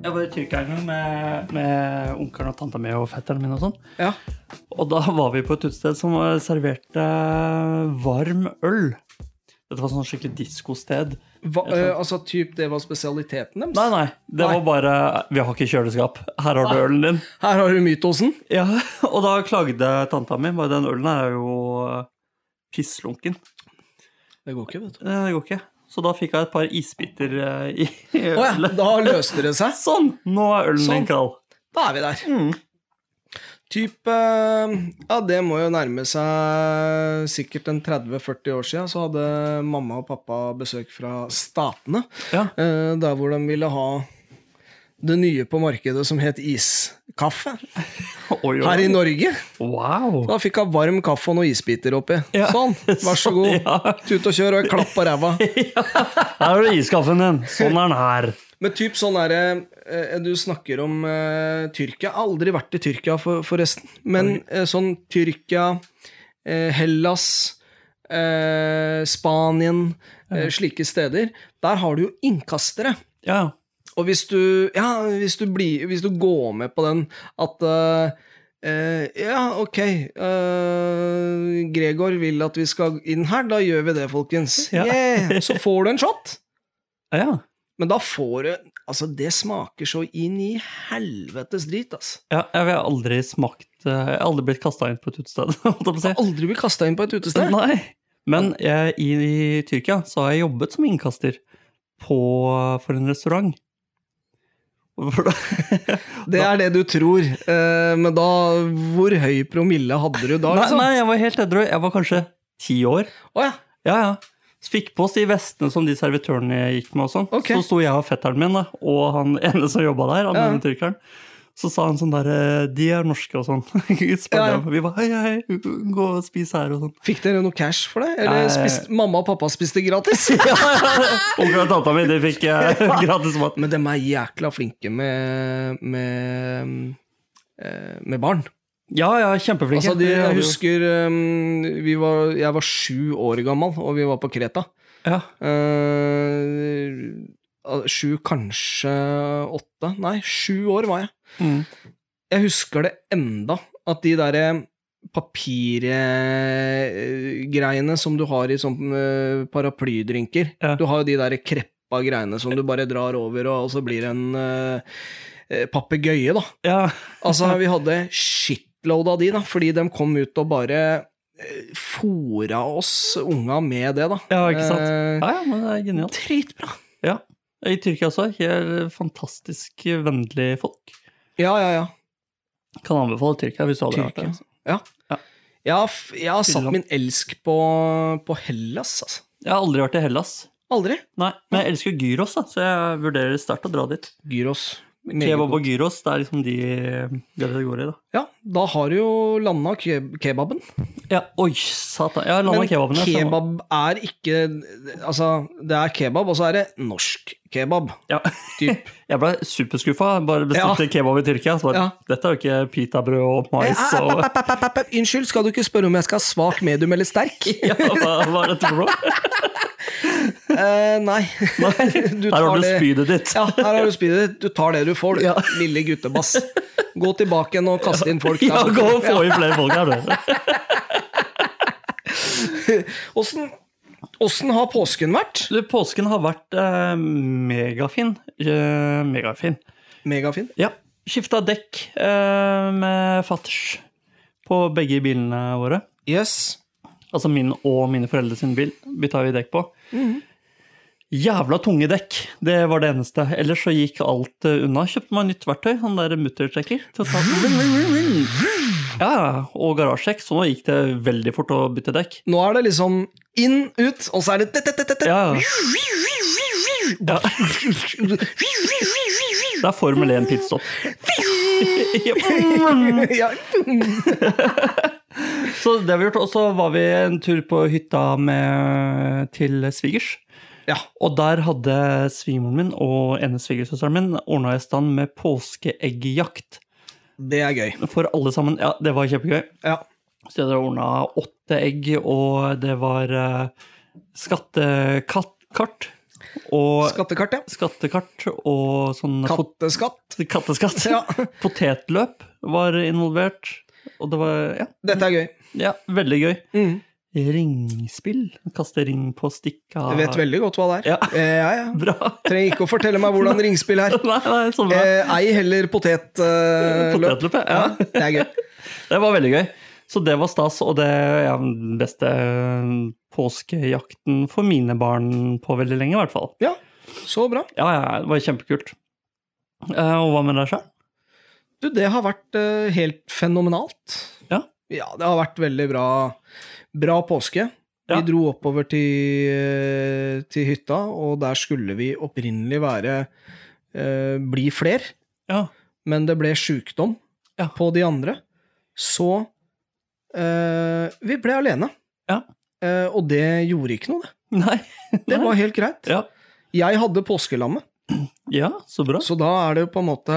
Jeg var i Tyrkia en gang med, med onkelen og tanta mi og fetteren min og sånn. Ja. Og da var vi på et utested som eh, serverte varm øl. Dette var sånn skikkelig diskosted. Hva, eh, altså, typ det var spesialiteten deres? Nei, nei, det Nei. var bare Vi har ikke kjøleskap. Her har du ølen din. Her har du mytosen. Ja, Og da klagde tanta mi. Bare den ølen her er jo eh, pisslunken. Det går ikke, vet du. Eh, Det går ikke. Så da fikk jeg et par isbiter eh, i i Å ja, ølet. da løste det seg. Sånn! Nå er ølen Sånn. min kald. Da er vi der. Mm. Typ eh, Ja, det må jo nærme seg sikkert en 30-40 år siden, så hadde mamma og pappa besøk fra Statene. Ja. eh, Der hvor de ville ha det nye på markedet som het iskaffe. Oi, oi. Her i Norge. Wow. Da fikk hun varm kaffe og noen isbiter oppi. Ja. Sånn, vær så god. Sånn, ja. Tut og kjør, og en klapp på ræva. Her har du iskaffen din. Sånn er den her. Men typ sånn er det eh, Du snakker om eh, Tyrkia. Jeg har aldri vært i Tyrkia, for, forresten. Men eh, sånn Tyrkia, eh, Hellas, eh, Spanien, eh, slike steder. Der har du jo innkastere. Ja, Og hvis du, ja, hvis du, blir, hvis du går med på den at eh, eh, Ja, ok, eh, Gregor vil at vi skal inn her, da gjør vi det, folkens. Ja. Yeah! Så får du en shot. ja. Men da får du Altså, det smaker så inn i helvetes drit, ass. ja jeg har aldri smakt eh, Jeg har aldri blitt kasta inn på et utested. holdt jeg på å si. Aldri bli kasta inn på et utested. Nei. Men jeg, i, i Tyrkia så har jeg jobbet som innkaster på, for en restaurant. For da, Det er det du tror. Eh, men da Hvor høy promille hadde du da, nei, liksom? nei, jeg var helt edru. Jeg var kanskje ti år. Å ja. Ja, ja. Så Fikk på oss de vestene som de servitørene gikk med. og sånn. Ok. Så sto jeg og fetteren min da, og han ene som jobba der, han Ja. ene tyrkeren. Så sa han sånn der eh, De er norske og sånn. Spør Ja, ja. dem. Vi bare hei, hei, gå og spis her og sånn. Fikk dere noe cash for det? Eller Eh. spiste, mamma og pappa spiste gratis? Onkelen og tanta mi de fikk eh, gratis mat. Men de er jækla flinke med med, eh, med barn. Ja, ja, kjempeflinke. Altså, de, Vi hadde jeg jo- husker eh, vi var, Jeg var sju år gammel, og vi var på Kreta. ja. Eh, sju, kanskje åtte. Nei, sju år var jeg. Mm. Jeg husker det enda, at de derre papirgreiene som du har i sånn eh, paraplydrinker Ja. Du har jo de derre kreppa greiene som du bare drar over, og og så blir det en eh, eh, papegøye, da. ja. Altså, vi hadde shitload av de, da, fordi de kom ut og bare eh, fora oss unga med det, da. ja, ikke sant? Eh, Ja, ja, men det er genialt. Dritbra! Ja. I Tyrkia også. Helt eh, fantastisk vennlige folk. Ja, ja, ja. Kan anbefale Tyrkia hvis du aldri har vært der. Tyrkia. altså. Ja. Ja. Jeg, har, f- jeg har satt Finland. min elsk på, på Hellas, altså. Jeg har aldri vært i Hellas. Aldri. Nei, men jeg elsker gyros, da, så jeg vurderer sterkt å dra dit. Gyros. Meget Kebab god. og gyros, det er liksom de det det går i, da. Ja, da har du jo landa ke kebaben. Ja, oi, satan. Jeg har landa Men kebaben. jeg, så- kebab er ikke Altså, det er kebab, og så er det norsk kebab. Ja. Typ. Jeg ble superskuffa. Bare bestilte kebab i Tyrkia. Så bare, Ja. Dette er jo ikke pitabrød og Eh, mais eh, og eh, eh, eh, eh, eh, Unnskyld, skal du ikke spørre om jeg skal ha svak, medium eller sterk? ja, hva, hva er dette for noe? Eh, nei. Nei, Du Der har du tar det- spydet ditt. Ja, her har du spydet. Du tar det du får, du. Ja. Lille guttebass. Gå tilbake igjen og kaste inn folk. altså. der Ja, borte. gå og få inn flere folk her, du. Åssen åssen har påsken vært? Du, Påsken har vært eh, megafin. Eh, megafin. Megafin. Ja. Skifta dekk eh, med fatters på begge bilene våre. Yes. Altså min og mine foreldre sin bil bytta vi dekk på. Jævla tunge dekk, det var det eneste. Ellers så gikk alt eh, unna. Kjøpte meg nytt verktøy, han der muttersjekker. til å ta- Ja, og garasjekk, så nå gikk det veldig fort å bytte dekk. Nå er det liksom inn, ut, og så er det det, det, det, det, det. Ja, ja. Det er Formel 1 pitstop. Jepp. Ja. så det har vi gjort. Og så var vi en tur på hytta med, til svigers. ja. Og der hadde svigermoren min og ene svigersøsteren min ordna i stand med påskeeggjakt Det er gøy. for alle sammen. Ja, det var kjempegøy. Ja. Så de hadde ordna åtte egg, og det var eh, skattekart. Og Skattekart, ja. skattekart og sånn pot- Katteskatt. katteskatt. Ja. Potetløp var involvert. Og det var ja, Dette er gøy. ja, veldig gøy. Mm. Ringspill. Kaste ring på stikka. Jeg vet veldig godt hva det er. Ja. Eh, ja, ja. Bra. Trenger ikke å fortelle meg hvordan ringspill er. Nei, nei, så bra. Eh, ei heller potetløp. Potetløp, ja. ja. det er gøy. Det var veldig gøy. Så det var stas, og det er ja, den beste eh, påskejakten for mine barn på veldig lenge, i hvert fall. Ja, så bra. Ja, ja, ja, det var kjempekult. Eh, og hva med deg sjøl? Du, det har vært eh, helt fenomenalt. Ja. ja, det har vært veldig bra, bra påske. Ja. Vi dro oppover til, eh, til hytta, og der skulle vi opprinnelig være eh, bli fler, Ja. men det ble sjukdom Ja. på de andre. Så eh, vi ble alene. Ja. Eh, og det gjorde ikke noe, det. Nei. Det Nei. var helt greit. ja. Jeg hadde påskelamme, ja, så bra. så da er det jo på en måte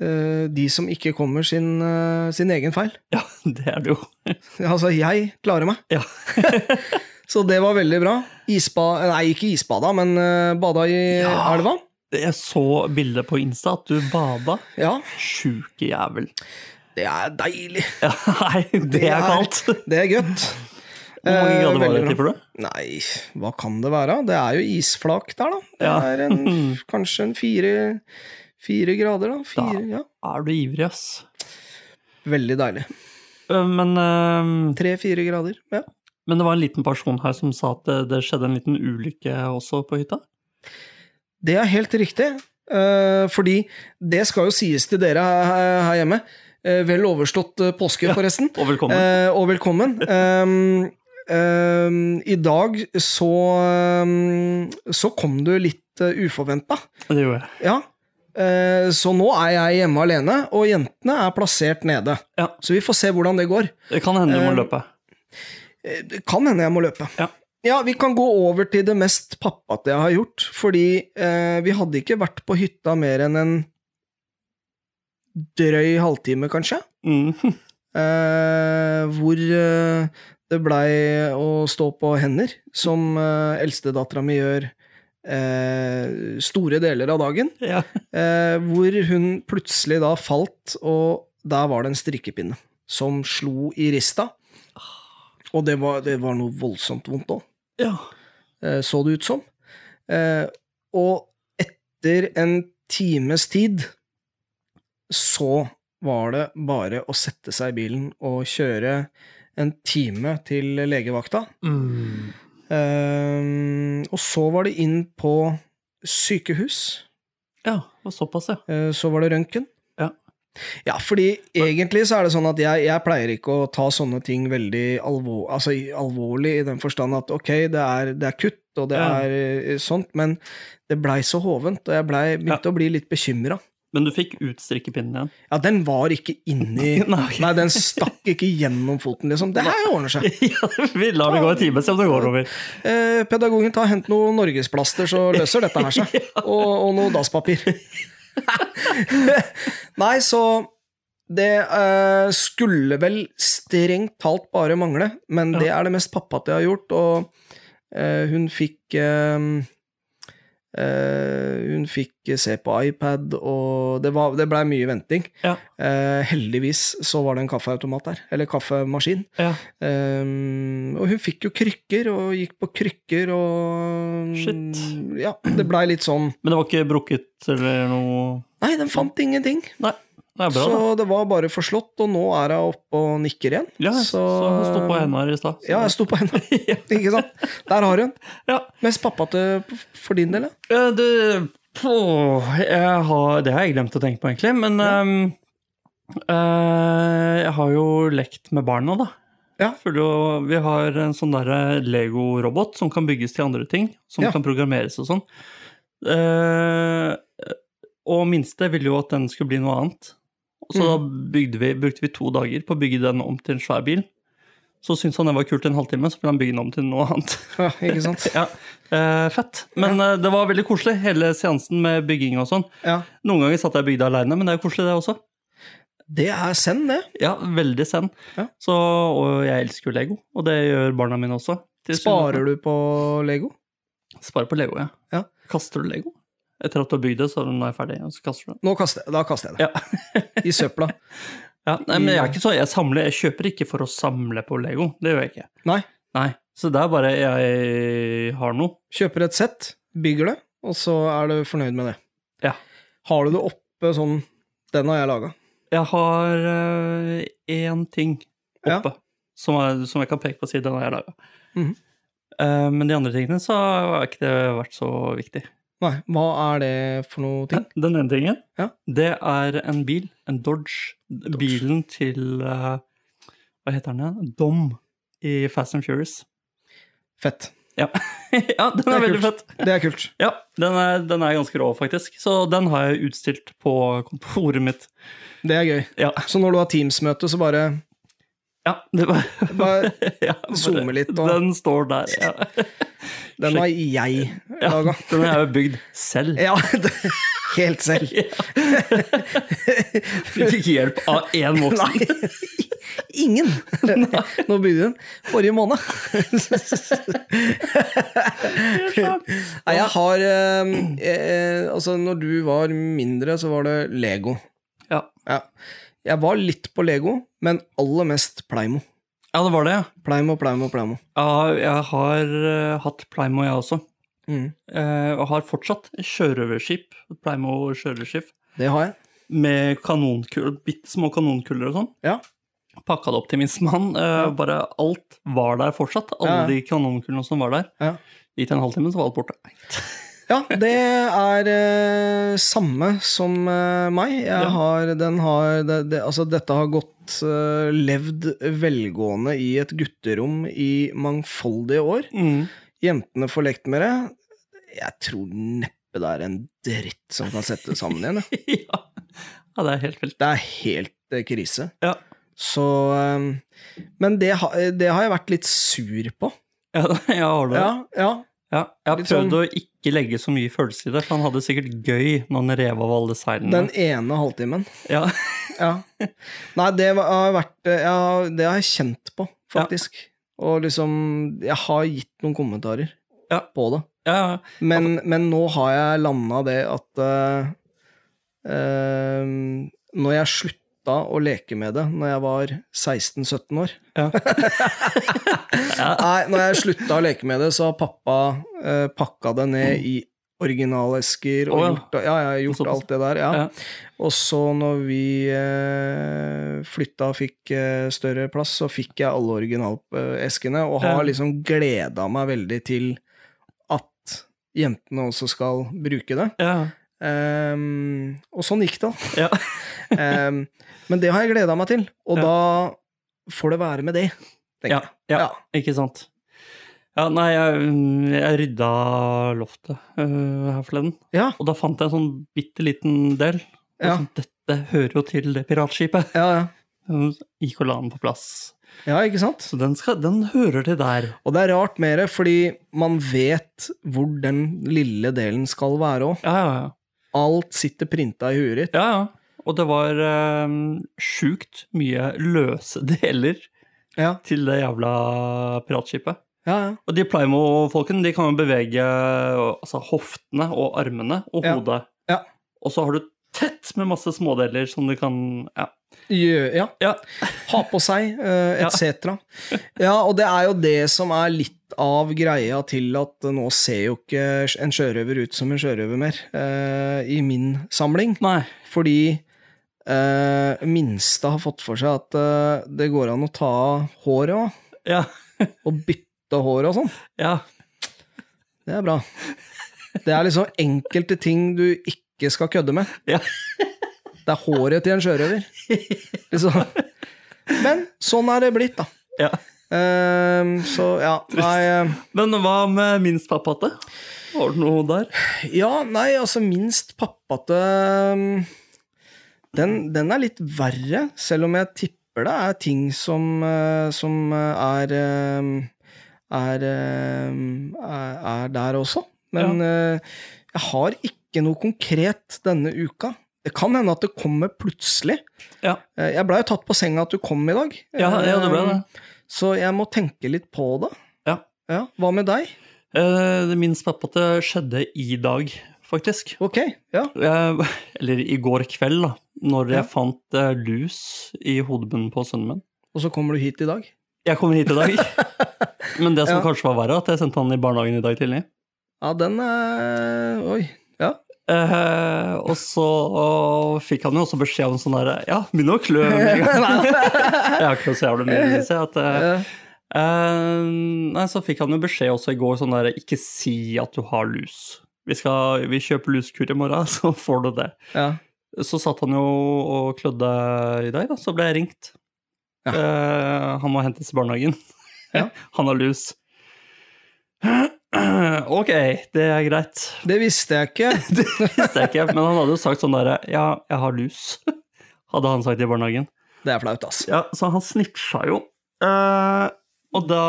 eh, de som ikke kommer sin, eh, sin egen feil. Ja, det er det jo. Altså, jeg klarer meg. Ja. Så det var veldig bra. Isba, nei, ikke isbada, men eh, bada i Ja. elva. Jeg så bildet på Insta at du bada. Ja, Sjuke jævel. det er deilig. Ja, nei, det er kaldt. Det er godt. Hvor mange Eh, grader var veldig det, bra. tipper du? Nei, hva kan det være? Det er jo isflak der, da. Det Ja. er en, kanskje en fire, fire grader, da. Fire, ja. Er du ivrig, ass? Veldig deilig. Eh, Men eh, Tre-fire grader. Ja. Men det var en liten person her som sa at det, det skjedde en liten ulykke også på hytta. Det er helt riktig. eh, fordi det skal jo sies til dere her, her hjemme. Eh, vel overstått eh, påske, forresten. Og velkommen. Eh, og velkommen. Um, um, I dag så um, Så kom du litt uh, uforventa. Det gjorde jeg. Ja. Eh, så nå er jeg hjemme alene, og jentene er plassert nede. Ja. Så vi får se hvordan det går. Det kan hende du må Eh, løpe. Eh, Det kan hende jeg må løpe. Ja. Ja, Vi kan gå over til det mest pappate jeg har gjort. Fordi eh, vi hadde ikke vært på hytta mer enn en drøy halvtime, kanskje. Mm. Eh, hvor eh, det blei å stå på hender, som eh, eldstedattera mi gjør eh, store deler av dagen. Ja. Eh, hvor hun plutselig da falt, og der var det en strikkepinne som slo i rista. Og det var, det var noe voldsomt vondt òg, ja. eh, så det ut som. Eh, og etter en times tid så var det bare å sette seg i bilen og kjøre en time til legevakta. Mm. Eh, og så var det inn på sykehus. Ja, det var såpass, ja. Eh, Så var det røntgen. Ja. Ja, fordi egentlig så er det sånn at jeg, jeg pleier ikke å ta sånne ting veldig alvor, altså, i- alvorlig, i den forstand at ok, det er, det er kutt, og det Ja. er eh, sånt, men det blei så hovent, og jeg blei, begynte å bli litt bekymra. Men du fikk ut strikkepinnen igjen? Ja, den var ikke inni Nei, ok. Nei, den stakk ikke gjennom foten, liksom. Det her ordner seg. Ja, vi lar det gå en time, se om det går over. Eh, pedagogen, ta hent noe norgesplaster, så løser dette her seg. Og, og noe dasspapir. Nei, så Det eh, skulle vel strengt talt bare mangle, men det er det mest pappate jeg har gjort, og eh, hun fikk eh, eh, hun fikk se på iPad, og det, var- det blei mye venting. Ja. Eh, heldigvis så var det en kaffeautomat der, eller kaffemaskin. Ja. Ehm, og hun fikk jo krykker, og gikk på krykker, og Shit. Ja, det blei litt sånn Men det var ikke brukket eller noe Nei, den fant ingenting. Nei, det er bra, da. så det var bare forslått, og nå er hun oppe og nikker igjen. Ja, så, hun sto på henda her i stad. så- Ja, jeg sto på henne. Ikke sant? Der har hun. Ja. Mest pappa til for din del, ja. Eh, Det, på, jeg har, det har jeg glemt å tenke på, egentlig. Men ehm, eh, jeg har jo lekt med barna, da. Ja. For da- vi har en sånn derre Lego-robot som kan bygges til andre ting. Som Ja. kan programmeres og sånn. Eh, og minste ville jo at den skulle bli noe annet. Og så Mm. da bygde vi, brukte vi to dager på å bygge den om til en svær bil. Så syntes han det var kult i en halvtime, så ville han bygge den om til noe annet. ja. Ikke sant? Ja, eh, fett. Men eh, det var veldig koselig, hele seansen med bygging og sånn. Ja. Noen ganger satt jeg og bygde aleine, men det er jo koselig, det også. Det er send, det. Ja, veldig zen. Ja. Så, og jeg elsker jo Lego, og det gjør barna mine også. Sparer du på Lego? Spar på Lego, ja. Ja. Kaster du Lego? Etter at du har bygd det, så er den er ferdig, og så kaster du det. Nå kaster, jeg- da kaster jeg det. Ja. I søpla. ja, nei, men jeg er ikke så, jeg samler, jeg kjøper ikke for å samle på Lego, det gjør jeg ikke. Nei. Nei, så det er bare jeg har noe. Kjøper et sett, bygger det, og så er du fornøyd med det. Ja. Har du det oppe sånn Den har jeg laga. Jeg har eh, én ting Ja. oppe som, er, som jeg kan peke på og si den har jeg laga. Mhm. men de andre tingene så har ikke det vært så viktig. Nei, hva er det for noe ting? Den ene tingen, Ja. det er en bil. En Dodge. Bilen til eh, Hva heter den igjen? Dom i Fast and Furious. Fett. Ja, ja den Det er, er veldig kult. fett. Det er kult. Ja, den er, den er ganske rå, faktisk. Så den har jeg utstilt på kontoret mitt. Det er gøy. Ja, Så når du har Teams-møte, så bare, ja det var bare ja, bare- Zoome litt og- Den står der, ja. Den har jeg Ja, laga. den har jeg jo bygd selv. Ja, det, helt selv. Fikk ikke hjelp av én voksen. Nei. Ingen! Nå bygde den forrige måned. Nei, jeg har eh, eh, Altså, når du var mindre, så var det Lego. Ja. Ja. Jeg var litt på Lego, men aller mest Pleimo. ja, det var det, ja. Pleimo, Pleimo, Pleimo. Ja, jeg har eh, hatt Pleimo, jeg også. Mm. Eh, og har fortsatt sjørøverskip, Pleimo sjørøverskip, Det har jeg. med kanonkuler, bitte små kanonkuler og sånn. Ja. Pakka det opp til minste mann. eh, Bare alt var der fortsatt. Alle Ja, ja. de kanonkulene som var der. Ja. Gikk det en halvtime, så var alt borte. Ja, det er eh, samme som eh, meg. Jeg Ja. har, den har det, det, Altså, dette har gått eh, levd velgående i et gutterom i mangfoldige år. Mm. Jentene får lekt med det. Jeg tror neppe det er en dritt som kan sette det sammen igjen. jeg. ja. ja, det er helt vilt. Det er helt eh, krise. Ja. Så eh, Men det, ha- det har jeg vært litt sur på. Ja, jeg har det. Ja, ja. Ja, jeg har Litt prøvd sånn- å ikke legge så mye følelse i det, for han hadde sikkert gøy når han rev av alle seilene. Den ene halvtimen. Ja, Ja. Nei, det var- har vært eh, ja, Det har jeg kjent på, faktisk. Og liksom Jeg har gitt noen kommentarer Ja. på det. ja, Men, men nå har jeg landa det at eh, eh, Når jeg slutta å leke med det når jeg var 16-17 år ja. Nei, når jeg slutta å leke med det, så har pappa eh, pakka det ned i originalesker og Mm. Å, ja. gjort, ja, jeg har gjort Såpass. alt det der. Ja. Ja. Og så når vi eh, flytta og fikk eh, større plass, så fikk jeg alle originaleskene, og har Ja. liksom gleda meg veldig til at jentene også skal bruke det. ja, Ehm, og sånn gikk det. da. ja. Ehm, men det har jeg gleda meg til, og Ja. da får det være med det. tenker Ja, jeg. ja. Ja. Ikke sant. Ja, nei, jeg, jeg rydda loftet øh, her forleden, Ja. og da fant jeg en sånn bitte liten del. Og Ja. sånn, Dette hører jo til det piratskipet. Ja, ja. Gikk og la den på plass. ja, ikke sant? Så den, skal, den hører til der. Og det er rart med det, fordi man vet hvor den lille delen skal være òg. Ja, ja, ja. Alt sitter printa i huet ditt. Ja, ja. Og det var eh, sjukt mye løse deler Ja. til det jævla piratskipet. Ja, ja. Og de Plymo-folkene de kan jo bevege altså, hoftene og armene og Ja. hodet. Ja. Og så har du tett med masse smådeler som du kan Ja. Gjø- ja. ja. Ha på seg, eh, Ja. etc. Ja, og det er jo det som er litt av greia til at eh, nå ser jo ikke en sjørøver ut som en sjørøver mer, eh, i min samling. Nei. Fordi eh, minste har fått for seg at eh, det går an å ta av håret òg, Ja. og bytte håret og sånn. Ja. Det er bra. Det er liksom enkelte ting du ikke skal kødde med. Ja. Det er håret til en sjørøver. Liksom. Men sånn er det blitt, da. ja. Ehm, så ja, nei eh, Men hva med minst pappate? Har du noe der? Ja, nei, altså minst pappate ehm, den, den er litt verre, selv om jeg tipper det er ting som, eh, som eh, er ehm, er, ehm, er er der også. Men eh, jeg har ikke noe konkret denne uka. Det kan hende at det kommer plutselig. Ja. Eh, Jeg blei jo tatt på senga at du kom i dag. Eh, Ja, ja, det ble det. Ehm, Så jeg må tenke litt på det. Ja. Hva med deg? Eh, det minst pappate skjedde i dag, faktisk. Ok, ja. Jeg, eller i går kveld, da. Når Ja. jeg fant eh, lus i hodebunnen på sønnen min. Og så kommer du hit i dag? Jeg kommer hit i dag. Men det som Ja. kanskje var verre, at jeg sendte han i barnehagen i dag tidlig. Ja, den er Oi. Ja. Eh, og så fikk han jo også beskjed om sånn derre Ja, begynn å klø. med en gang. Jeg har ikke så jævlig mye, synes jeg. At, eh, Eh, eh, nei, så fikk han jo beskjed også i går sånn derre Ikke si at du har lus. Vi, skal, vi kjøper luskur i morgen, så får du det. ja. Så satt han jo og klødde i dag, da. Så ble jeg ringt. Ja. Eh, han må hentes i barnehagen. Ja. han har lus. ok, det er greit. Det visste jeg ikke. Visste jeg ikke, men han hadde jo sagt sånn derre Ja, jeg har lus. Hadde han sagt i barnehagen. Det er flaut, ass. Ja, så han snitcha jo. Eh, og da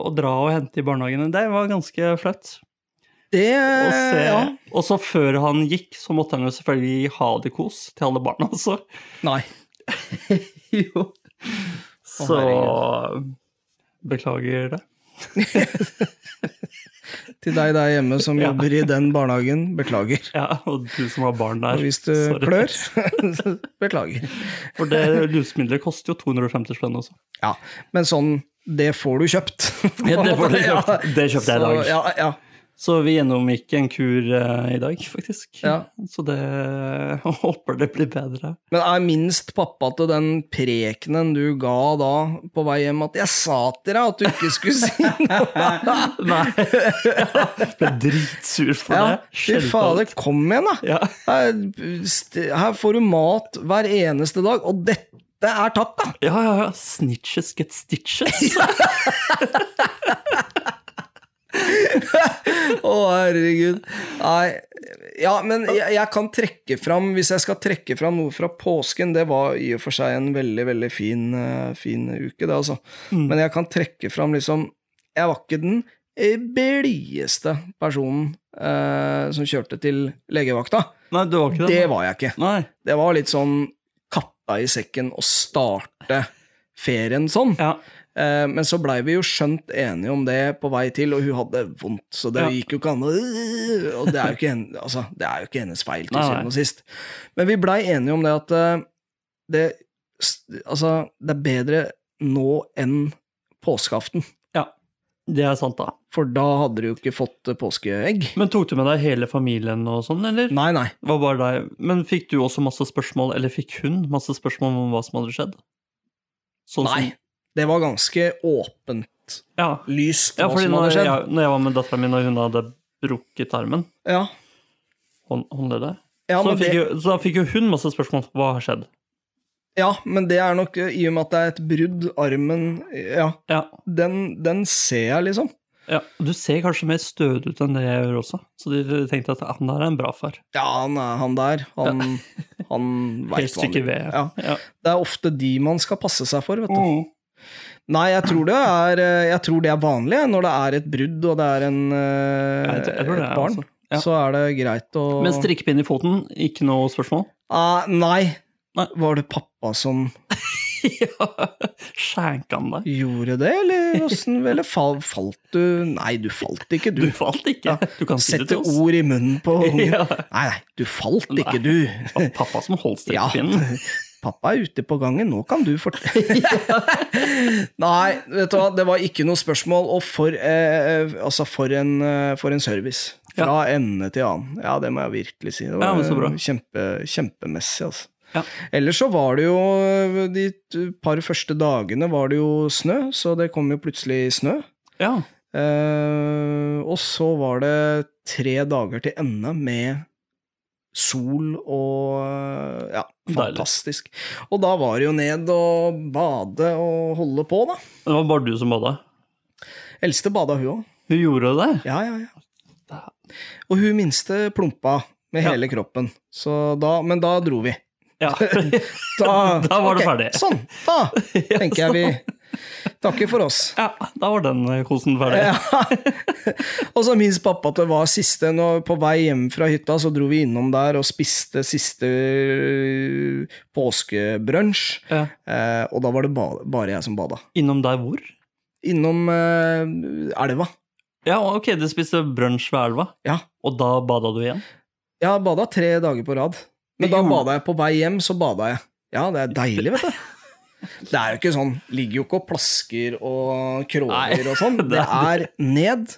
å dra og hente i barnehagen, det var ganske flaut. Det Og, se, ja. og så før han gikk, så måtte han jo selvfølgelig ha det kos til alle barna også. Nei. jo. Så herregud. Beklager det. Til deg der hjemme som Ja. jobber i den barnehagen, beklager. Ja, og du som har barn der. Og hvis du sorry. klør, beklager. For det lusemiddelet koster jo 250 spenn også. Ja, men sånn, det får du kjøpt. Ja, det, var det, jeg Ja. kjøpte. det kjøpte jeg i dag. Så, ja, ja. Så vi gjennomgikk en kur eh, i dag, faktisk. Ja. Så det håper det blir bedre. Men er minst pappa til den prekenen du ga da på vei hjem at 'jeg sa til deg at du ikke skulle si noe'? Nei. Jeg ble dritsur for Ja, det. fy Skjelte fader, alt. kom igjen, da! Ja. Her, st- her får du mat hver eneste dag, og dette er takk, da! ja, ja, ja. Snitches get stitches. Å, herregud. Nei, ja, men jeg, jeg kan trekke fram, hvis jeg skal trekke fram noe fra påsken Det var i og for seg en veldig, veldig fin, eh, fin uke, det, altså. Mm. Men jeg kan trekke fram liksom Jeg var ikke den eh, blideste personen eh, som kjørte til legevakta. Nei, du var ikke det. Det var jeg ikke. Nei. Det var litt sånn katta i sekken å starte ferien sånn. Ja. Eh, Men så blei vi jo skjønt enige om det på vei til, og hun hadde vondt, så det Ja. gikk jo ikke an å Og det er jo ikke, hen- altså, det er jo ikke hennes feil, til Nei, nei. syvende og sist. Men vi blei enige om det at eh, det, s- altså, det er bedre nå enn påskeaften, Det er sant, da. for da hadde du jo ikke fått eh, påskeegg. Men tok du med deg hele familien og sånn, eller? Nei, nei. Var bare deg. Men fikk du også masse spørsmål, eller fikk hun masse spørsmål om hva som hadde skjedd? Sånn som- Nei. Det var ganske åpent Ja. lyst ja, hva fordi som når hadde skjedd. jeg, når jeg var med dattera mi, og hun hadde brukket armen, Ja. hånd, håndleddet Ja, så, men fikk det, jo, så da fikk jo hun masse spørsmål. Hva har skjedd? ja, men det er nok eh, i og med at det er et brudd, armen Ja. Ja. den, den ser jeg, liksom. ja. Du ser kanskje mer stødig ut enn det jeg gjør også, så de tenkte at "Ah, han der er en bra far. Ja, han, er, han der, han, han veit Helt hva han stykke gjør. ved. Ja. Ja. Det er ofte de man skal passe seg for, vet du. Mm. Nei, jeg tror det er, eh, jeg tror det er vanlig eh, når det er et brudd og det er en, eh, Jeg tror- jeg tror det et er, barn. altså. Ja. Så er det greit å Men strikkepinn i foten, ikke noe spørsmål? Ah, nei. Nei. Var det pappa som ja, skjenka han deg? gjorde det, eller åssen Eller fall, falt du Nei, du falt ikke, Du du. falt ikke. Ja. Du kan si det Sette til oss. ord i munnen på ungen. Ja. Nei, nei, du falt Nei. ikke, du. Det var pappa som holdt strikkepinnen. Pappa er ute på gangen, nå kan du fortelle Nei, vet du hva, det var ikke noe spørsmål, og for, eh, eh, altså for, en, eh, for en service. Fra ende til annen. Ja, det må jeg virkelig si. Det var Ja, men så bra. eh, Kjempe, kjempemessig, altså. Ja. Ellers så var det jo eh, de t- par første dagene var det jo snø, så det kom jo plutselig snø. Ja. Eh, og så var det tre dager til ende med sol og eh, Ja, Deilig. fantastisk. Og da var det jo ned og bade og holde på, da. Det var bare du som bada. Eldste bada hun òg. Hun gjorde det? Ja, ja, ja. Og hun minste plumpa med Ja. hele kroppen. Så da, men da dro vi. Ja. Da, Da var det ok, ferdig. sånn. Sånn. Da tenker jeg vi takker for oss. ja, da var den eh, kosen ferdig. Ja. og så minst pappa at det var siste. Nå, på vei hjem fra hytta så dro vi innom der og spiste siste øh, påskebrunsj. Ja. Eh, og da var det ba bare jeg som bada. Innom deg hvor? Innom øh, elva. Ja, ok, du spiste brunsj ved elva, Ja. og da bada du igjen? Jeg har bada tre dager på rad. Men da Jo. bada jeg på vei hjem, så bada jeg. Ja, det er deilig, vet du. Det er jo ikke sånn. Ligger jo ikke og plasker og Nei, kråler og sånn. det Det er- er ned,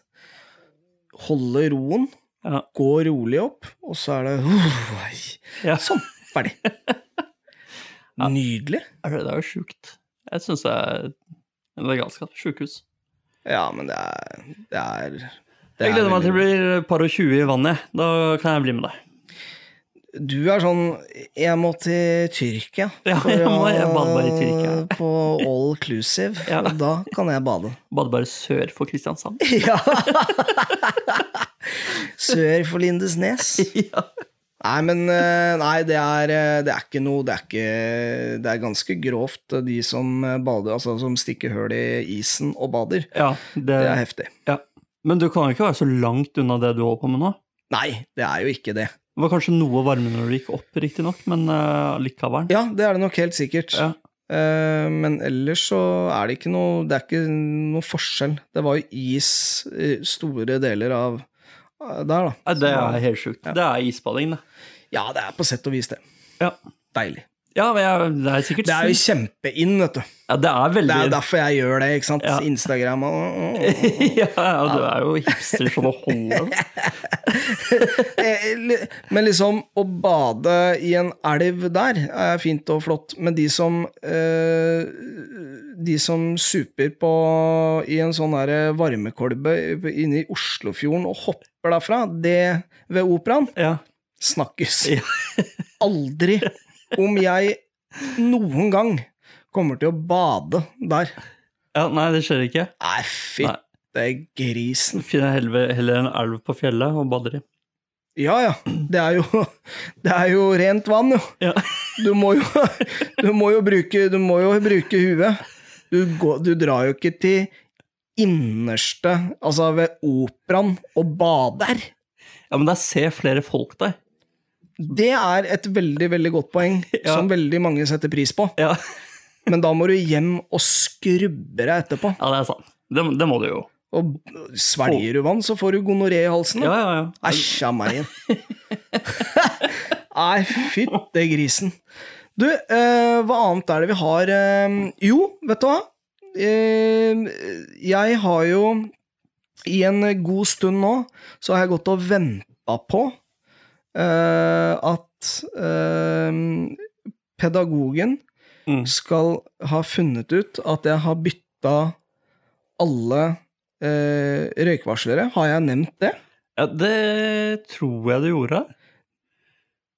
holde roen, Ja. gå rolig opp, og så er det uff, Ja. Sånn. Ferdig. Nydelig. Er Det det er jo sjukt. Jeg syns det er en galskap. Sjukehus. Ja, men det er Det er det Jeg er gleder meg til det veldig- blir par og 20 i vannet. jeg. Da kan jeg bli med deg. Du er sånn Jeg må til Tyrkia. Ja, for jeg må- å- jeg bader bare i Tyrkia. På all inclusive. Ja. og Da kan jeg bade. Bade bare sør for Kristiansand. Ja. Sør for Lindesnes. ja. Nei, men eh, Nei, det er, eh, det er ikke noe Det er, ikke, det er ganske grovt, eh, de som eh, bader, altså som stikker hull i isen og bader. ja, det, Det er heftig. ja. Men du kan jo ikke være så langt unna det du holder på med nå. Nei, det er jo ikke det. Det var kanskje noe varmere når du gikk opp, riktignok, men uh, likevel. Ja, det er det nok helt sikkert. Ja. Eh, men ellers så er det ikke noe Det er ikke noe forskjell. Det var jo is eh, store deler av eh, der, da. Nei, Det er helt sjukt. Det er isbading, det. Ja, det er på sett og vis det. Ja, Deilig. ja men jeg, det er sikkert Det er jo sunt. kjempeinn, vet du. ja, det er veldig Det er jo derfor jeg gjør det, ikke sant? Ja. Instagram og og- og- ja, ja, du er jo hipster som å holde det. Eh, li- Men liksom, å bade i en elv der er fint og flott, men de som eh, De som super på i en sånn der varmekolbe inne i Oslofjorden og hopper derfra, det ved operaen, Ja. snakkes Ja. aldri om jeg noen gang kommer til å bade der. ja, nei, det skjer ikke. Nei, Nei. fytte grisen. Finner heller heller en elv på fjellet og bader i. Ja, ja. Det er jo, det er jo rent vann, jo. Ja. Du må jo, du må jo, bruke, du må jo bruke huet. Du, går, du drar jo ikke til innerste, altså ved operaen, og bader. Ja, men der ser flere folk der. Det er et veldig, veldig godt poeng, Ja. som veldig mange setter pris på. Ja, Men da må du hjem og skrubbe deg etterpå. ja det er sant. Det, det må du jo. Og svelger du vann, så får du gonoré i halsen. Ja, ja, ja. Æsj a meg igjen. Nei, fytte grisen. Du, eh, hva annet er det vi har eh, Jo, vet du hva? Eh, jeg har jo i en god stund nå, så har jeg gått og venta på eh, at eh, pedagogen Mm. skal ha funnet ut at jeg har bytta alle eh, røykvarslere. Har jeg nevnt det? ja det tror jeg du gjorde.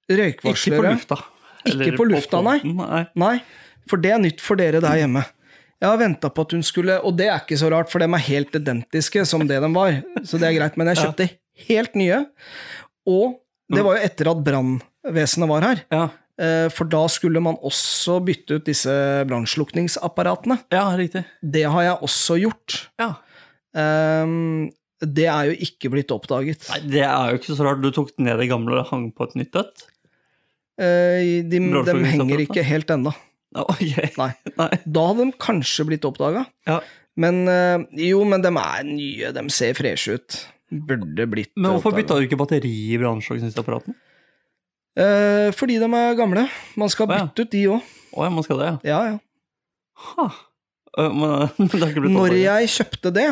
Ikke på Røykvarslere? lufta. Ikke på lufta, nei. podden, nei. Nei, for det er nytt for dere der hjemme. Jeg har venta på at hun skulle Og det er ikke så rart, for de er helt identiske som det de var. Så det er greit, men jeg Ja. Mm. kjøpte helt nye. Og det var jo etter at brannvesenet var her. Ja, eh, For da skulle man også bytte ut disse brannslukningsapparatene. ja riktig. Det har jeg også gjort. Ja. Ehm, Det er jo ikke blitt oppdaget. Nei, det er jo ikke så rart. Du tok ned det gamle og hang på et nytt et. Eh, De, de henger Brannslukningsapparatene? ikke helt ennå. Ja, ok. Nei. Nei. Da hadde de kanskje blitt oppdaga. Ja. Men eh, jo, men de er nye, de ser freshe ut. Burde blitt Men hvorfor bytta du ikke batteri i brannslukningsapparatene? Eh, fordi de er gamle. Man skal Å, ja. bytte ut de òg. Å ja, man skal det, ja. Ja, ja. Ha. Øh, Men men det har ikke blitt Når oppdaget. jeg kjøpte det,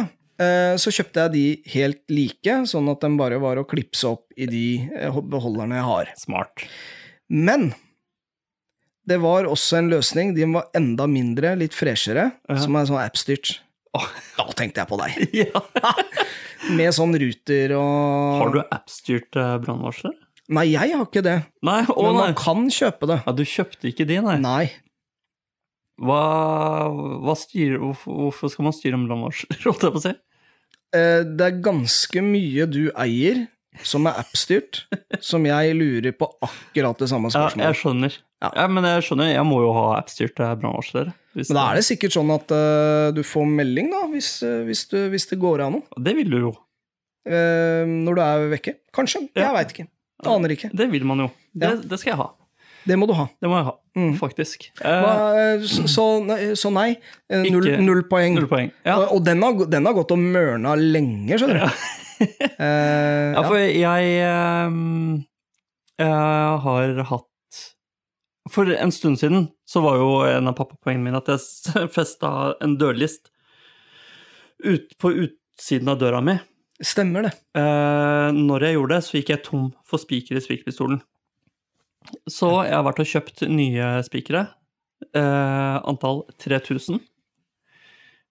eh, så kjøpte jeg de helt like, sånn at de bare var å klipse opp i de eh, beholderne jeg har. Smart. Men det var også en løsning. De var enda mindre, litt freshere, Ja. som er sånn appstyrt. Åh. Da tenkte jeg på deg! Ja. Med sånn ruter og Har du appstyrt eh, brannvarsler? Nei, jeg har ikke det. Nei, å Men nei. man kan kjøpe det. Ja, du kjøpte ikke de, nei. Nei. Hva, hva styrer, hvorfor, hvorfor skal man styre en brannvarsler, holdt jeg på å si? Eh, Det er ganske mye du eier som er app-styrt, som jeg lurer på akkurat det samme Ja, spørsmålet. jeg skjønner. Ja. Ja. men jeg skjønner, jeg må jo ha appstyrte brannvarsler. hvis Men da er det sikkert sånn at eh, du får melding, da, hvis, eh, hvis, du, hvis det går an noe. Det vil du jo. eh, når du er vekke. Kanskje. Ja. Jeg veit ikke. Aner ikke. Det vil man jo. Det, Ja. det skal jeg ha. Det må du ha. Det må jeg ha, Mm. faktisk. Hva, eh, så, så nei- så nei, eh, null, Ikke- null poeng. Null poeng. Ja. Og, og den, har, gå- den har gått og mørna lenge, skjønner du. Eh, Ja, ja. for jeg ehm, eh, har hatt For en stund siden så var jo en av pappapoengene mine at jeg festa en dørlist ut på utsiden av døra mi. Stemmer det. Eh, når jeg gjorde det, så gikk jeg tom for spiker i spikerpistolen. Så jeg har vært og kjøpt nye spikere. Eh, antall 3000.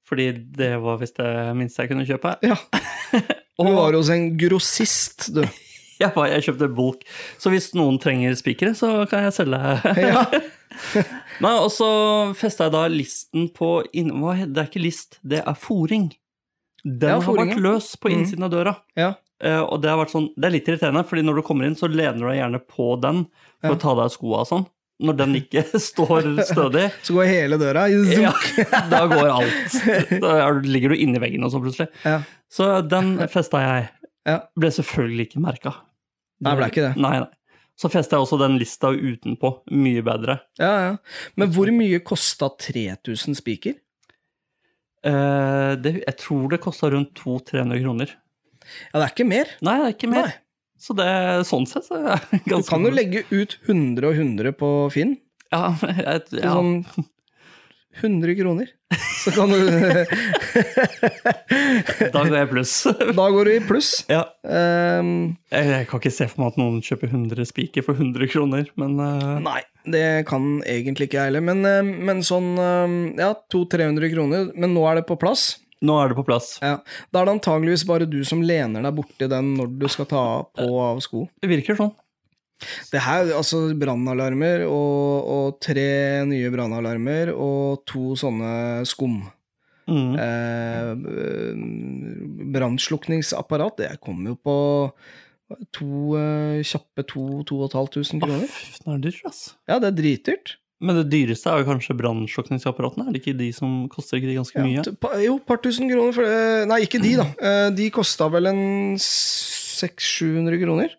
Fordi det var visst det minste jeg kunne kjøpe. Ja. Du Og- var hos en grossist, du. Jeg, bare, jeg kjøpte bulk. Så hvis noen trenger spikere, så kan jeg selge. Ja. Nei, Og så festa jeg da listen på inn... Hva heter det? er ikke list, det er foring. Den Ja, har foring, vært ja. løs på Mhm. innsiden av døra. Ja. Eh, og det har vært sånn, det er litt irriterende, fordi når du kommer inn, så lener du deg gjerne på den for Ja. å ta av deg skoa og sånn. Når den ikke står stødig, Så går hele døra i zoom. ja, da går alt. Da er du- ligger du inni veggen og så plutselig. Ja. Så den festa jeg. Ja. Ble selvfølgelig ikke merka. Nei, ble ikke det. Nei, nei. Så festa jeg også den lista utenpå. Mye bedre. Ja, ja. Men hvor mye kosta 3000 spiker? Eh, det, jeg tror det kosta rundt 200-300 kroner. Ja, det er ikke mer. Nei, det er ikke mer. Nei. Så det, sånn sett så er det Du ganske kan jo legge ut 100 og 100 på Finn. Ja, jeg, til ja. Sånn 100 kroner. Så kan du Da går jeg pluss. Da går du i pluss. ja. Ehm, jeg, jeg kan ikke se for meg at noen kjøper 100 spiker for 100 kroner, men eh, nei, det kan egentlig ikke jeg heller. Men, eh, men sånn eh, Ja, 200-300 kroner. Men nå er det på plass. nå er det på plass. Ja. Da er det antageligvis bare du som lener deg borti den når du skal ta på og av sko. Det virker sånn. Det her, altså brannalarmer og, og tre nye brannalarmer og to sånne skum. Mm. Eh, b- Brannslukningsapparat, det kom jo på to eh, kjappe 2500 Å, kroner. fy, nå er det dyrt, ass. Ja, det er dritdyrt. Men det dyreste er jo kanskje brannslukningsapparatene? Er det ikke de som koster ikke de ganske Ja, mye? t- pa- jo, et par tusen kroner for det. Nei, ikke de, da. Eh, De kosta vel en 600-700 kroner.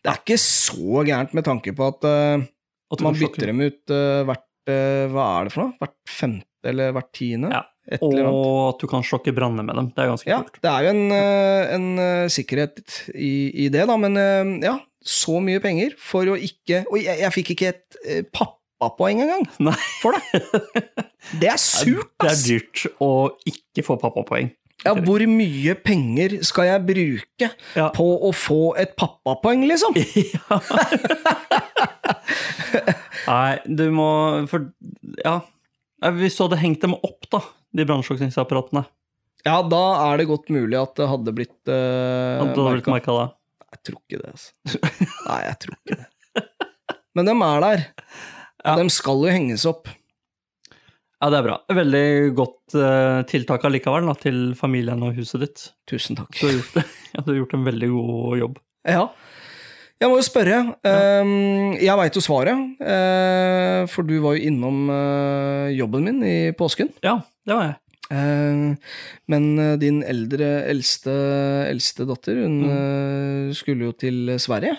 Det er ikke så gærent med tanke på at eh, At du man kan slukke- bytter dem ut eh, hvert eh, Hva er det for noe? Hvert femte eller hvert tiende? Ja, Et eller annet. Og at du kan slokke branner med dem. Det er ganske Ja, kult. det er jo en, eh, en eh, sikkerhet i, i det, da, men eh, ja. Så mye penger for å ikke Og jeg, jeg fikk ikke et eh, pappapoeng engang Nei. for det. Det er surt, Det er ass! dyrt å ikke få pappapoeng. Ja, hvor mye penger skal jeg bruke Ja. på å få et pappapoeng, liksom? ja. Nei, du må For ja. Nei, Hvis du hadde hengt dem opp, da, de brannslukningsapparatene, Ja, da er det godt mulig at det hadde blitt eh, hadde du blitt merket. merka da? Jeg tror ikke det, altså. Nei, jeg tror ikke det. Men dem er der. Ja. Og dem skal jo henges opp. Ja, det er bra. Veldig godt eh, tiltak allikevel, da, til familien og huset ditt. Tusen takk. Du har gjort, ja, du har gjort en veldig god jobb. Ja. Jeg må jo spørre. ehm, jeg veit jo svaret, eh, for du var jo innom eh, jobben min i påsken. Ja, det var jeg. Eh, men eh, din eldre, eldste, eldste datter, hun eh, skulle jo til Sverige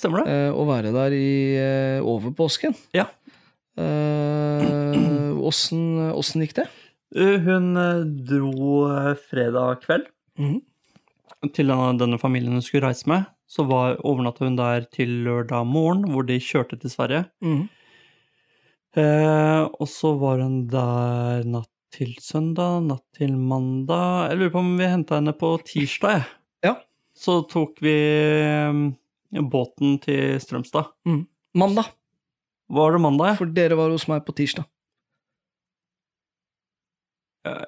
Stemmer det? eh, og være der i, eh, over påsken. Ja. Eh, Åssen åssen gikk det? Eh, Hun eh, dro eh, fredag kveld. Mhm. til denne- denne familien hun skulle reise med, så var overnatta hun der til lørdag morgen, hvor de kjørte til Sverige. Mhm. Eh, og så var hun der natt til søndag, natt til mandag Jeg lurer på om vi henta henne på tirsdag, jeg. Ja. Så tok vi eh, båten til Strømstad. Mandag, Var det mandag, ja? for dere var hos meg på tirsdag.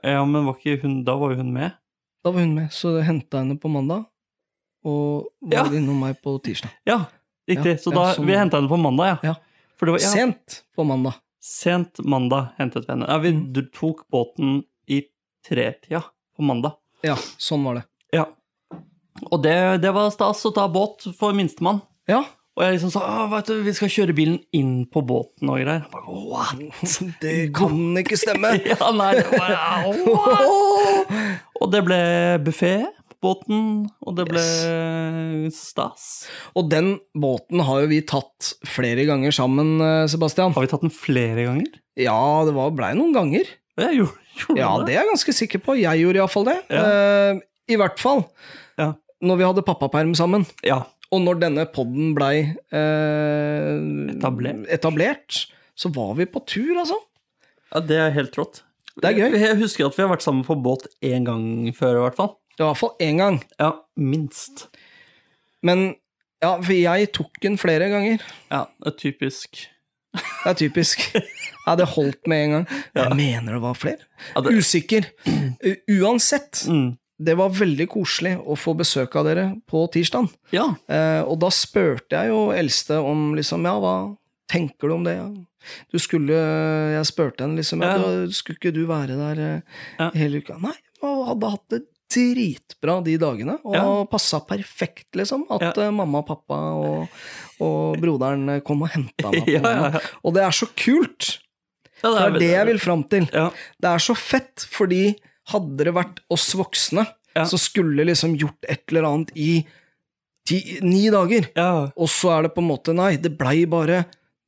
Ja, men var ikke hun, da var jo hun med. Da var hun med, så jeg henta henne på mandag, og Ja. var innom meg på tirsdag. Ja, riktig. Ja, så ja, da, sånn. vi henta henne på mandag, ja. Ja. For det var, ja, Sent på mandag. Sent mandag hentet vi henne. Ja, vi Mm. d- tok båten i tretida på mandag. Ja, sånn var det. Ja. Og det, det var stas å ta båt for minstemann. Ja, Og jeg liksom sa «Å, vet du, vi skal kjøre bilen inn på båten og greier. Han bare, What? det kan ikke stemme! Ja, nei, det var, «Au». Åh! og det ble buffé båten, og det ble stas. Og den båten har jo vi tatt flere ganger sammen, eh, Sebastian. Har vi tatt den flere ganger? Ja, det var- blei noen ganger. Jeg gjorde, gjorde Ja, det er jeg ganske sikker på. Jeg gjorde iallfall det. Ja. Eh, I hvert fall Ja. når vi hadde pappaperm sammen. Ja. Og når denne podden blei eh, Etablert. etablert, så var vi på tur, altså. ja, det er helt rått. Det er gøy. Jeg, jeg husker at vi har vært sammen på båt én gang før, i hvert fall. Det var i hvert fall én gang. Ja, minst. Men ja, for jeg tok den flere ganger. Ja, det er typisk. Det er typisk. Ja, det holdt med en gang. Jeg mener det var flere. Ja, det- Usikker. U- Uansett, Mm. det var veldig koselig å få besøk av dere på tirsdag. Ja. Eh, og da spurte jeg jo eldste om liksom, ja, hva tenker du om det? Du skulle, jeg spurte henne liksom, ja, Ja. da skulle ikke du være der eh, Ja. hele uka? Nei, jeg hadde hatt det dritbra de dagene, og Ja. passa perfekt, liksom, at Ja. eh, mamma og pappa og, og broderen eh, kom og henta meg på Ja, ja, morgenen. ja. Og det er så kult! Ja, Det er det jeg vil fram til. Ja. Det er så fett, fordi hadde det vært oss voksne, Ja. så skulle liksom gjort et eller annet i ti, ni dager. Ja. Og så er det på en måte Nei, det blei bare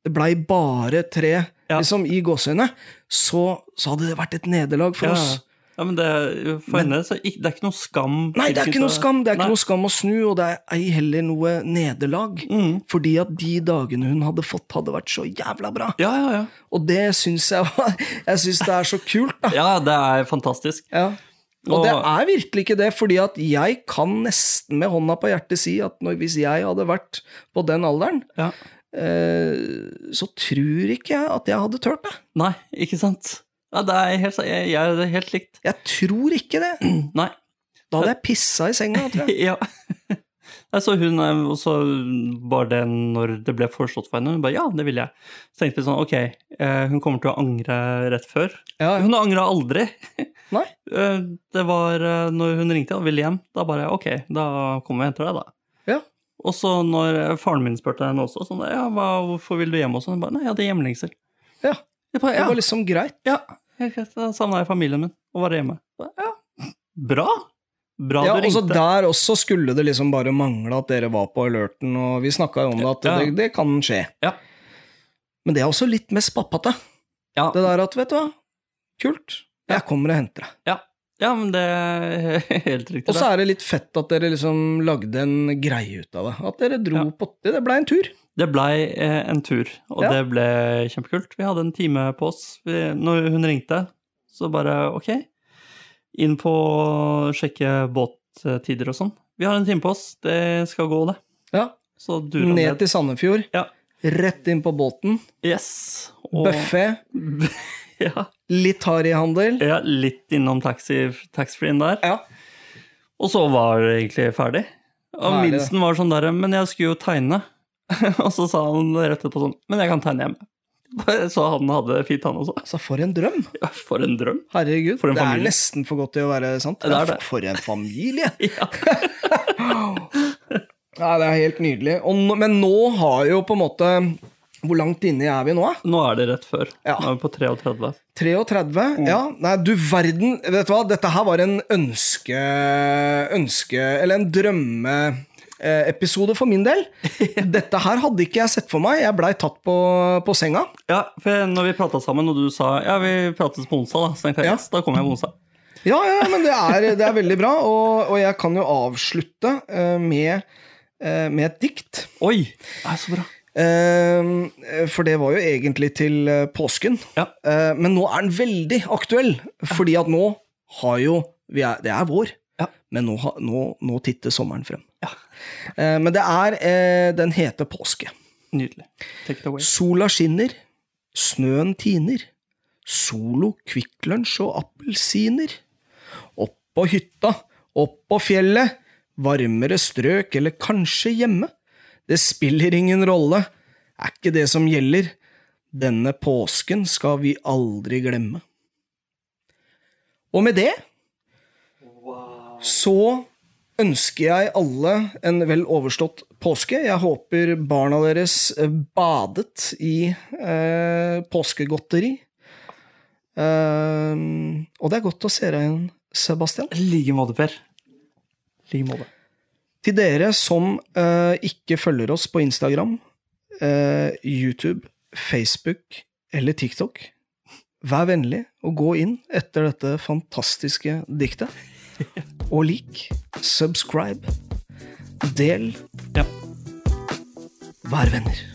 Det blei bare tre Ja. liksom, i gåseøynene. Så, så hadde det vært et nederlag for Ja. oss. ja, men det er, for henne så ikke, det er ikke noe skam. Nei, det er ikke noe skam. Det er Nei. ikke noe skam å snu, og det er ei heller noe nederlag. Mm. Fordi at de dagene hun hadde fått, hadde vært så jævla bra. Ja, ja, ja. Og det syns jeg var Jeg syns det er så kult, da. Ja, det er fantastisk. Ja. Og det Og- er virkelig ikke det, fordi at jeg kan nesten med hånda på hjertet si at når, hvis jeg hadde vært på den alderen, Ja. eh, så tror ikke jeg at jeg hadde turt det. Nei, ikke sant? Ja, det er helt, jeg, jeg er helt likt. Jeg tror ikke det. Nei. Da hadde jeg pissa i senga, tror jeg. Ja. Nei, så hun er også bare det når det ble foreslått for henne, hun bare ja, det vil jeg. Så tenkte vi sånn, ok, eh, hun kommer til å angre rett før. Ja, ja. Hun angra aldri. Nei. Eh, Det var eh, når hun ringte og ville hjem, da bare ok, da kommer vi og henter deg, da. Ja. Og så når eh, faren min spurte henne også, sånn ja, hva, hvorfor vil du hjem også? Hun bare nei, jeg hadde hjemlengsel. Ja. Jeg bare, Det ja, var liksom greit. ja, helt greit. Da savna jeg familien min og var hjemme. Bare, Ja, bra. Bra Ja, du og så ringte. Der også skulle det liksom bare mangle at dere var på alerten, og vi snakka jo om det, at Ja. det, det kan skje. Ja. Men det er også litt mest pappate. Ja. Det der at, vet du hva, kult, Ja. jeg kommer og henter deg. Ja, men det er helt riktig. Og så det. er det litt fett at dere liksom lagde en greie ut av det. At dere dro Ja. på Det blei en tur. Det blei eh, en tur, og Ja. det ble kjempekult. Vi hadde en time på oss. Vi, når hun ringte, så bare ok, inn på å sjekke båttider og sånn. Vi har en time på oss, det skal gå, det. Ja. Så durer han Ned ned. til Sandefjord. Ja. Rett inn på båten. Yes. Og, Buffé. ja, Litt harryhandel. ja, litt innom taxi- taxfree-en der. Ja. Og så var det egentlig ferdig. Og Herlig, det. minsten var sånn der, men jeg skulle jo tegne. og så sa han rett etterpå sånn, men jeg kan tegne hjemme. Så han hadde det fint, han også. Altså, for en drøm! Ja, For en drøm. Herregud. For en det er familie. nesten for godt til å være sant. Det er det. For en familie! Ja. Ja, det er helt nydelig. Og nå, men nå har jo på en måte Hvor langt inne er vi nå, da? Nå er det rett før. Ja. Nå er vi på 33. 33? Ja. Nei, du verden. Vet du hva, dette her var en ønske... ønske eller en drømmeepisode for min del. Dette her hadde ikke jeg sett for meg. Jeg blei tatt på, på senga. Ja, for jeg- når vi prata sammen, og du sa ja, vi prates på onsdag, da, så tenkte jeg Ja. yes, da kommer jeg på onsdag. Ja, ja, men det er, det er veldig bra. Og, og jeg kan jo avslutte eh, med, eh, med et dikt. Oi! Det er så bra. Eh, For det var jo egentlig til eh, påsken. Ja. Eh, Men nå er den veldig aktuell, fordi at nå har jo vi er, Det er vår, Ja. men nå, har- nå, nå titter sommeren frem. Ja. Eh, Men det er eh, Den heter påske. Nydelig. Take it away. Sola skinner, snøen tiner. Solo, Kvikk Lunsj og appelsiner. Opp på hytta, opp på fjellet, varmere strøk eller kanskje hjemme. Det spiller ingen rolle, er ikke det som gjelder. Denne påsken skal vi aldri glemme. Og med det så ønsker jeg alle en vel overstått påske. Jeg håper barna deres eh, badet i eh, påskegodteri. Eh, og det er godt å se deg igjen, Sebastian. I like måte, Per. like måte. Til dere som eh, ikke følger oss på Instagram, eh, YouTube, Facebook eller TikTok, vær vennlig og gå inn etter dette fantastiske diktet. Og lik, subscribe, del, Ja. vær venner.